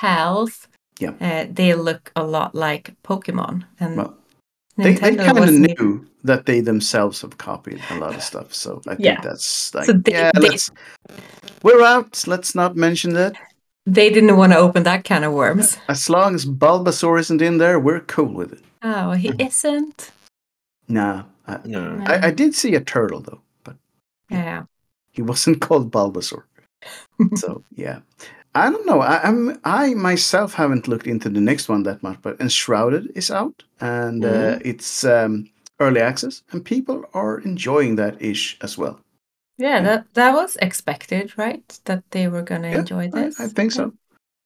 Speaker 3: pals.
Speaker 2: Yeah.
Speaker 3: uh, they look a lot like Pokemon, and
Speaker 2: Well, They, they
Speaker 3: Nintendo
Speaker 2: kind of
Speaker 3: wasn't.
Speaker 2: knew that they themselves have copied a lot of stuff. So I
Speaker 3: Yeah.
Speaker 2: think that's like,
Speaker 3: So they-
Speaker 2: yeah,
Speaker 3: they-
Speaker 2: let's, we're out. Let's not mention that.
Speaker 3: They didn't want to open that can of worms.
Speaker 2: As long as Bulbasaur isn't in there, we're cool with it.
Speaker 3: Oh, he
Speaker 2: Mm-hmm.
Speaker 3: isn't.
Speaker 2: Nah. I,
Speaker 1: Yeah.
Speaker 3: No.
Speaker 2: I, I did see a turtle, though, but
Speaker 3: yeah.
Speaker 2: he wasn't called Bulbasaur. so yeah i don't know I, i'm i myself haven't looked into the next one that much but enshrouded is out and
Speaker 3: Mm-hmm.
Speaker 2: uh, it's um, early access and people are enjoying that ish as well
Speaker 3: Yeah, that that was expected, right? That they were gonna
Speaker 2: Yeah,
Speaker 3: enjoy
Speaker 2: I,
Speaker 3: this.
Speaker 2: I think so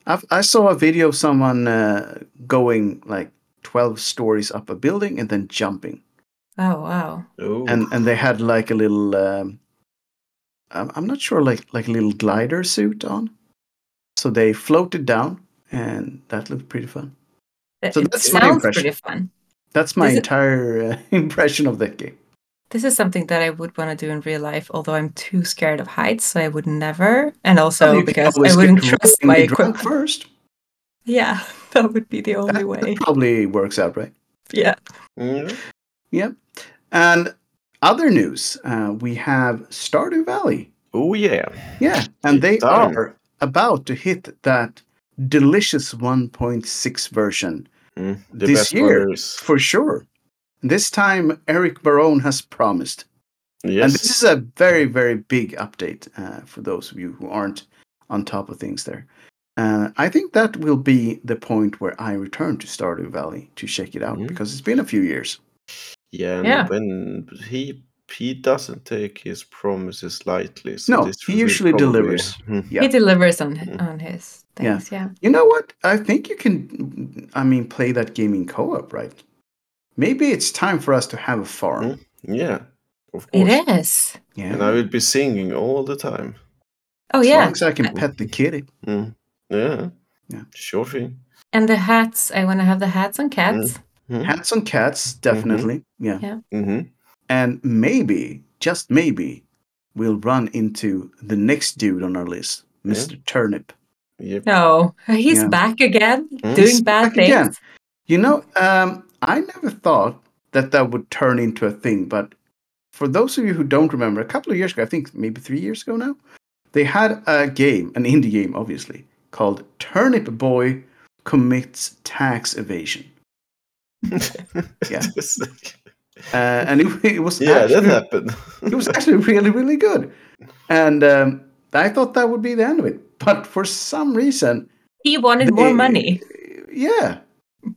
Speaker 2: I've, i saw a video of someone uh, going like 12 stories up a building and then jumping
Speaker 3: Oh wow.
Speaker 1: Ooh.
Speaker 2: and and they had like a little um, I'm, I'm not sure like like a little glider suit on so they floated down and that looked pretty fun
Speaker 3: That-
Speaker 2: So
Speaker 3: it
Speaker 2: that's my
Speaker 3: sounds
Speaker 2: impression.
Speaker 3: pretty fun.
Speaker 2: That's my
Speaker 3: Is it-
Speaker 2: entire uh, impression of that game.
Speaker 3: This is something that I would want to do in real life, although I'm too scared of heights, so I would never. And also
Speaker 2: You can
Speaker 3: because
Speaker 2: always
Speaker 3: I
Speaker 2: get
Speaker 3: wouldn't
Speaker 2: drunk
Speaker 3: trust
Speaker 2: and
Speaker 3: my
Speaker 2: be drunk
Speaker 3: equipment.
Speaker 2: first.
Speaker 3: Yeah, that would be the only
Speaker 2: That, that
Speaker 3: way.
Speaker 2: probably works out, right?
Speaker 3: Yeah.
Speaker 1: Mm,
Speaker 2: And other news, uh, we have Stardew Valley.
Speaker 1: Oh yeah.
Speaker 2: Yeah, and they
Speaker 1: It's done.
Speaker 2: are about to hit that delicious 1.6 version
Speaker 1: Mm, The
Speaker 2: This
Speaker 1: best
Speaker 2: year,
Speaker 1: one there is.
Speaker 2: for sure. This time, Eric Barone has promised. And
Speaker 1: Yes.
Speaker 2: this is a very, very big update uh, for those of you who aren't on top of things there. Uh, I think that will be the point where I return to Stardew Valley to check it out
Speaker 1: Mm.
Speaker 2: because it's been a few years.
Speaker 1: Yeah, and
Speaker 3: Yeah.
Speaker 1: when he he doesn't take his promises lightly. So
Speaker 2: No,
Speaker 1: this
Speaker 2: he
Speaker 1: will
Speaker 2: usually
Speaker 1: probably-
Speaker 2: delivers.
Speaker 1: Mm,
Speaker 2: Yeah.
Speaker 3: He delivers on
Speaker 1: Mm.
Speaker 3: on his
Speaker 2: Yeah.
Speaker 3: things, yeah.
Speaker 2: You know what? I think you can, I mean, play that game in co op, right? Maybe it's time for us to have a farm.
Speaker 1: Mm, Yeah, of course.
Speaker 3: It is.
Speaker 2: Yeah.
Speaker 1: And I will be singing all the time.
Speaker 3: Oh
Speaker 2: as
Speaker 3: yeah.
Speaker 2: long as I
Speaker 1: Uh,
Speaker 2: can pet the kitty.
Speaker 1: Mm, Yeah.
Speaker 2: Yeah.
Speaker 1: Sure thing.
Speaker 3: And the hats. I wanna have the hats on cats.
Speaker 1: Mm,
Speaker 2: Hats on cats, definitely. Yeah.
Speaker 1: mhm.
Speaker 2: And maybe, just maybe, we'll run into the next dude on our list,
Speaker 1: Yeah.
Speaker 2: Mr. Turnip.
Speaker 1: Yep.
Speaker 3: No. He's
Speaker 2: Yeah.
Speaker 3: back again
Speaker 1: Mm.
Speaker 3: doing bad
Speaker 2: back again.
Speaker 3: things.
Speaker 2: You know, um, I never thought that that would turn into a thing, but for those of you who don't remember, a couple of years ago, I think maybe three years ago now, they had a game, an indie game, obviously, called Turnip Boy Commits Tax Evasion. Yeah.
Speaker 1: It's like-
Speaker 2: Uh, and it, it was
Speaker 1: yeah, that
Speaker 2: actually-
Speaker 1: happened.
Speaker 2: it was actually really really good and um, i thought that would be the end of it but for some reason
Speaker 3: He wanted more
Speaker 2: they-
Speaker 3: money.
Speaker 2: yeah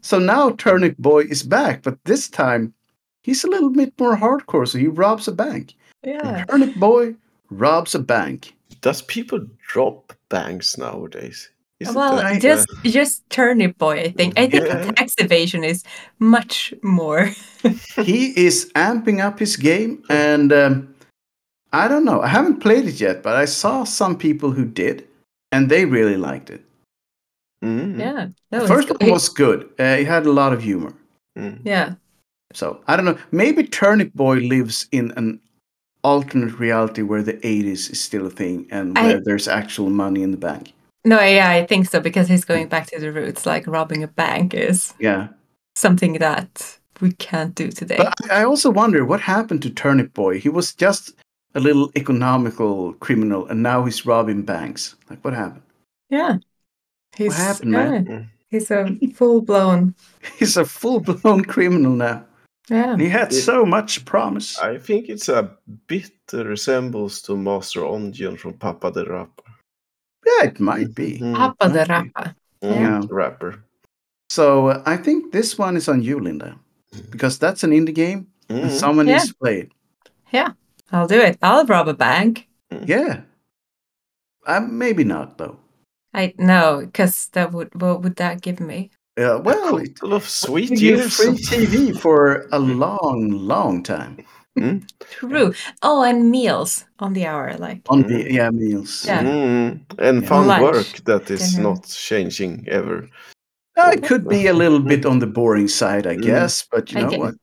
Speaker 2: so now turnip boy is back but this time he's a little bit more hardcore so he robs a bank
Speaker 3: Yeah.
Speaker 2: turnip boy robs a bank
Speaker 1: Does people drop banks nowadays? Is it
Speaker 3: well,
Speaker 1: that, uh,
Speaker 3: just just turnip boy. I think. I think
Speaker 1: Yeah.
Speaker 3: tax evasion is much more.
Speaker 2: he is amping up his game and um, i don't know i haven't played it yet but i saw some people who did and they really liked it
Speaker 1: mm,
Speaker 3: Yeah.
Speaker 2: the
Speaker 3: No,
Speaker 2: first
Speaker 3: it's,
Speaker 2: one was good uh, it had a lot of humor
Speaker 1: mm.
Speaker 3: Yeah.
Speaker 2: So I don't know. Maybe Turnip Boy lives in an alternate reality where the 80s is still a thing and
Speaker 3: I-
Speaker 2: where there's actual money in the bank.
Speaker 3: No, yeah, I think so because he's going
Speaker 2: Mm.
Speaker 3: back to the roots. Like robbing a bank is
Speaker 2: Yeah.
Speaker 3: something that we can't do today.
Speaker 2: But I I also wonder what happened to Turnip Boy. He was just a little economical criminal and now he's robbing banks. Like what happened?
Speaker 3: yeah. He's,
Speaker 2: happened, man?
Speaker 3: yeah, He's a full blown.
Speaker 2: He's a full-blown criminal now.
Speaker 3: Yeah.
Speaker 2: And he had so much promise.
Speaker 1: I think it's a bit uh, resembles to Master Onion from Papa the Rapper.
Speaker 2: Yeah, it might be.
Speaker 1: Mm,
Speaker 3: Papa the
Speaker 2: okay.
Speaker 3: Rapper.
Speaker 1: mm,
Speaker 2: Yeah.
Speaker 1: Rapper.
Speaker 2: So uh, I think this one is on you, Linda, because that's an indie game and
Speaker 1: Mm,
Speaker 2: someone
Speaker 3: Yeah.
Speaker 2: needs to play it.
Speaker 3: Mm-hmm. I'll do it. I'll rob a bank.
Speaker 2: Yeah. Uh, maybe not though.
Speaker 3: I no, because that would what would that give me?
Speaker 2: Yeah, Uh, well,
Speaker 1: a
Speaker 2: it
Speaker 1: couple of sweet
Speaker 2: gives you
Speaker 1: years.
Speaker 2: free TV for a long, long time
Speaker 3: True. Oh, and meals on the hour, like
Speaker 2: on
Speaker 1: Mhm.
Speaker 2: the yeah meals.
Speaker 3: Mm-hmm. Yeah.
Speaker 1: Mm, and
Speaker 2: Yeah.
Speaker 1: fun
Speaker 3: Lunch,
Speaker 1: work that is
Speaker 3: dinner.
Speaker 1: not changing ever.
Speaker 2: Uh, it could be a little bit on the boring side, I
Speaker 1: Mm.
Speaker 2: guess, but you
Speaker 3: Mm-hmm. I
Speaker 2: know
Speaker 3: get-
Speaker 2: what?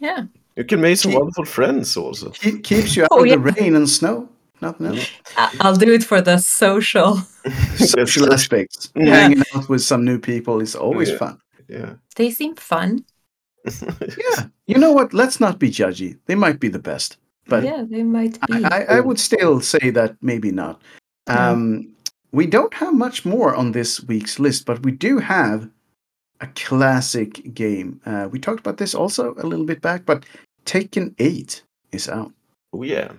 Speaker 3: yeah.
Speaker 1: You can make some
Speaker 2: Keep-
Speaker 1: wonderful friends also.
Speaker 2: Keep, keeps you out
Speaker 3: Oh,
Speaker 2: of the
Speaker 3: yeah. Mm-hmm.
Speaker 2: rain and snow. Nothing else.
Speaker 3: I- I'll do it for the social.
Speaker 2: Social aspects.
Speaker 1: Yeah.
Speaker 2: Hanging out with some new people is always
Speaker 1: Yeah.
Speaker 2: fun.
Speaker 1: Mm, Yeah.
Speaker 3: They seem fun.
Speaker 2: Yeah. You know what? Let's not be judgy. They might be the best, but
Speaker 3: yeah, they might be.
Speaker 2: I, I, I would still say that maybe not.
Speaker 3: Yeah.
Speaker 2: Um, we don't have much more on this week's list, but we do have a classic game. Uh, we talked about this also a little bit back, but Taken 8 is out
Speaker 1: Oh, yeah.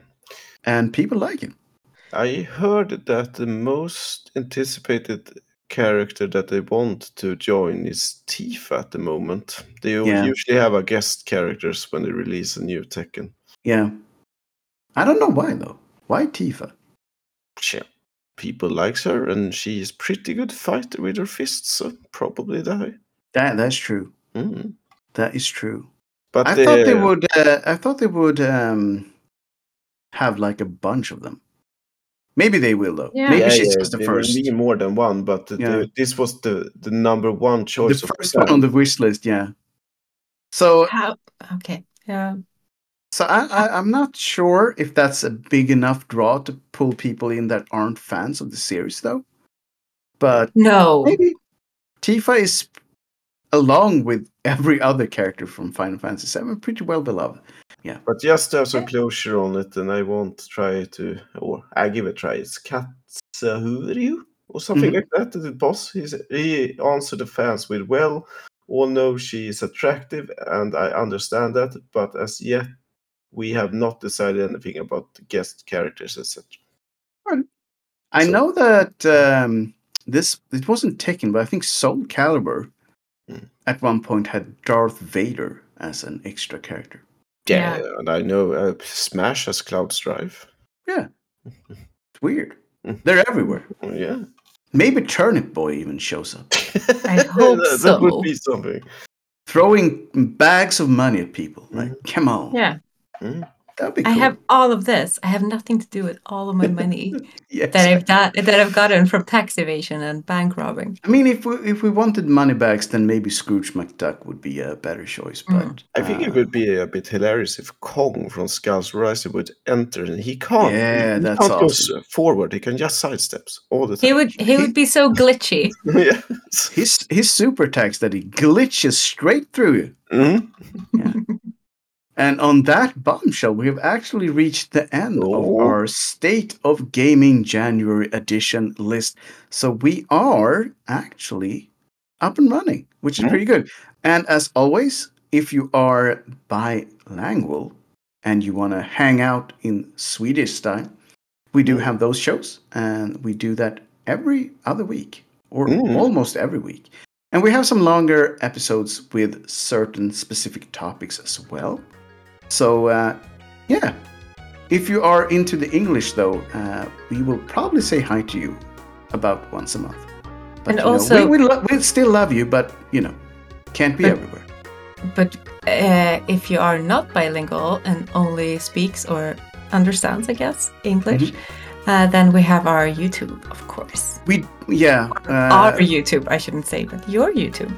Speaker 2: and people like it.
Speaker 1: I heard that the most anticipated character that they want to join is Tifa at the moment. They u-
Speaker 2: Yeah.
Speaker 1: usually have a guest characters when they release a new Tekken.
Speaker 2: Yeah. I don't know why, though. Why Tifa?
Speaker 1: Yeah. People likes her and she is pretty good fighter with her fists, so probably that. eh?
Speaker 2: That, that's true.
Speaker 1: Mm.
Speaker 2: That is true.
Speaker 1: But
Speaker 2: I thought they
Speaker 1: uh,
Speaker 2: would. Uh, I thought they would um, have like a bunch of them. Maybe they will though.
Speaker 3: Yeah.
Speaker 2: Maybe
Speaker 1: yeah,
Speaker 2: she's
Speaker 1: yeah,
Speaker 2: just the
Speaker 1: there will
Speaker 2: first,
Speaker 1: be more than one, but the,
Speaker 2: Yeah.
Speaker 1: this was the, the number one
Speaker 2: the
Speaker 1: choice. of
Speaker 2: first one on the wish list. Yeah. So,
Speaker 3: How? Okay. Yeah.
Speaker 2: so I, I, I'm not sure if that's a big enough draw to pull people in that aren't fans of the series though. But
Speaker 3: No.
Speaker 2: maybe Tifa is, along with every other character from Final Fantasy VII, pretty well beloved.
Speaker 1: But just to have some closure on it, and I won't try to, or I give a try. It's Katsahuryu or something
Speaker 2: Mhm.
Speaker 1: like that. The boss, he's, he answered the fans with, "Well, all know she is attractive, and I understand that, but as yet, we have not decided anything about the guest characters, etc."
Speaker 2: I
Speaker 1: So-
Speaker 2: know that um, this it wasn't Tekken, but I think Soul Calibur
Speaker 1: Mm.
Speaker 2: at one point had Darth Vader as an extra character.
Speaker 1: Yeah,
Speaker 3: Yeah.
Speaker 1: and I know uh, Smash has Cloud Strife. Mm-hmm.
Speaker 2: It's weird.
Speaker 1: Mm.
Speaker 2: They're everywhere. Mm.
Speaker 1: Yeah,
Speaker 2: Maybe Turnip Boy even shows up,
Speaker 3: I hope
Speaker 1: that, that
Speaker 3: so.
Speaker 1: would be something.
Speaker 2: throwing bags of money at people. Like,
Speaker 1: Mm-hmm.
Speaker 2: come on,
Speaker 3: Yeah.
Speaker 2: that'd be
Speaker 3: I
Speaker 2: cool.
Speaker 3: have all of this. I have nothing to do with all of my money
Speaker 2: Yes.
Speaker 3: that I've got, that I've gotten from tax evasion and bank robbing.
Speaker 2: I mean, if we if we wanted money bags, then maybe Scrooge McDuck would be a better choice. But
Speaker 3: Mm.
Speaker 1: I think it
Speaker 2: uh,
Speaker 1: would be a bit hilarious if Kong from Skulls Rising would enter and he can't.
Speaker 2: Yeah,
Speaker 1: he
Speaker 2: that's
Speaker 1: can't go
Speaker 2: awesome.
Speaker 1: s- forward. He can just sidesteps all the
Speaker 3: He
Speaker 1: time.
Speaker 3: would he would be so glitchy.
Speaker 1: yeah.
Speaker 2: his his super tax that he glitches straight through you.
Speaker 1: Mhm.
Speaker 2: And on that bombshell, we have actually reached the end
Speaker 1: Oh.
Speaker 2: of our State of Gaming January edition list. So we are actually up and running, which is
Speaker 1: Mhm.
Speaker 2: pretty good. And as always, if you are bilingual and you want to hang out in Swedish style, we do
Speaker 1: Mhm.
Speaker 2: have those shows and we do that every other week or
Speaker 1: Mhm.
Speaker 2: almost every week. And we have some longer episodes with certain specific topics as well. So, uh, yeah. If you are into the English, though, uh, we will probably say hi to you about once a month. But
Speaker 3: And
Speaker 2: you know,
Speaker 3: also-
Speaker 2: we, we lo- we'll still love you, but you know, can't be
Speaker 3: But-
Speaker 2: everywhere.
Speaker 3: But uh, if you are not bilingual and only speaks or understands, I guess, English,
Speaker 2: Mm-hmm.
Speaker 3: uh, then we have our YouTube, of course.
Speaker 2: We, yeah.
Speaker 3: our
Speaker 2: Uh,
Speaker 3: YouTube, I shouldn't say, but your YouTube.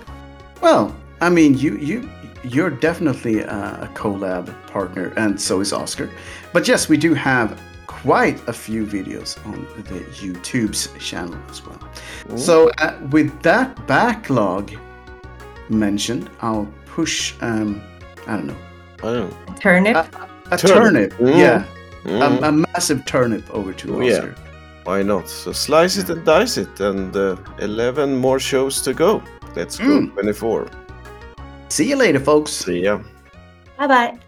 Speaker 2: well, I mean, you, you, you're definitely uh, a collab partner, and so is Oscar. But yes, we do have quite a few videos on the YouTube's channel as well. So, uh, with that backlog mentioned, I'll push, um, I don't know,
Speaker 1: I don't know.
Speaker 3: Turnip.
Speaker 2: Uh, a
Speaker 1: Turnip.
Speaker 2: turnip.
Speaker 1: Mm.
Speaker 2: Yeah,
Speaker 1: Mhm.
Speaker 2: a, a massive turnip over to
Speaker 1: Oh, yeah.
Speaker 2: Oscar.
Speaker 1: Why not? So slice it and dice it, and uh, eleven more shows to go. Let's go
Speaker 2: Mm.
Speaker 1: twenty-four.
Speaker 2: See you later, folks.
Speaker 1: See ya.
Speaker 3: bye bye.